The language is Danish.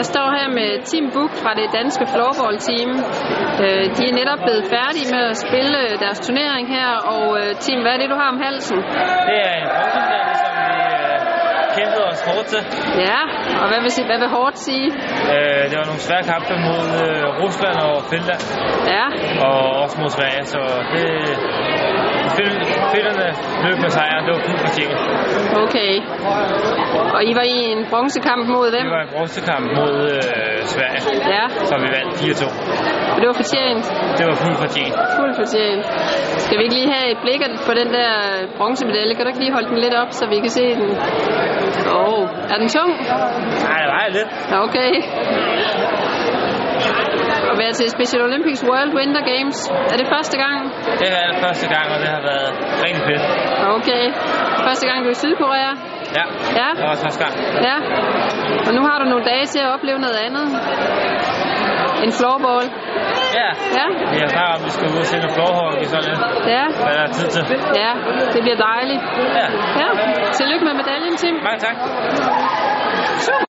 Jeg står her med Team Book fra det danske floorball-team. Øh, De er netop blevet færdige med at spille øh, deres turnering her, og øh, Team, hvad er det, du har om halsen? Det er en bronzemedalje, som vi øh, kæmpede os hårdt til. Ja, og hvad vil, sige- hvad vil hårdt sige? Øh, det var nogle svære kampe mod øh, Rusland og Finland, Ja, og også mod Sverige, så det... Fin- Finnerne løb med sejren, det var fuldt fortjent. okay. Og I var i en bronzekamp mod hvem? Det var en bronzekamp mod øh, Sverige, Ja, som vi vandt 4-2. og det var fortjent. Det var fuldt fortjent. Fuldt fortjent. Skal vi ikke lige have et blik på den der bronzemedalje? Kan du ikke lige holde den lidt op, så vi kan se den? Åh, oh, er den tung? Nej, det var lidt. Ja, Okay. At være til Special Olympics World Winter Games. Er det første gang? Det var første gang, og det har været rigtig fedt. Okay. Første gang du er i Sydkorea? Ja, Ja. det var også første gang. Ja. Og nu har du nogle dage til at opleve noget andet. En floorball. Ja. Ja, Vi har snakket om, at vi skal ud og se noget flowhawk i sådan lidt. ja, Hvad der er tid til. ja. Det bliver dejligt. Ja. Ja. Tillykke med medaljen, Tim. Mange tak. Super.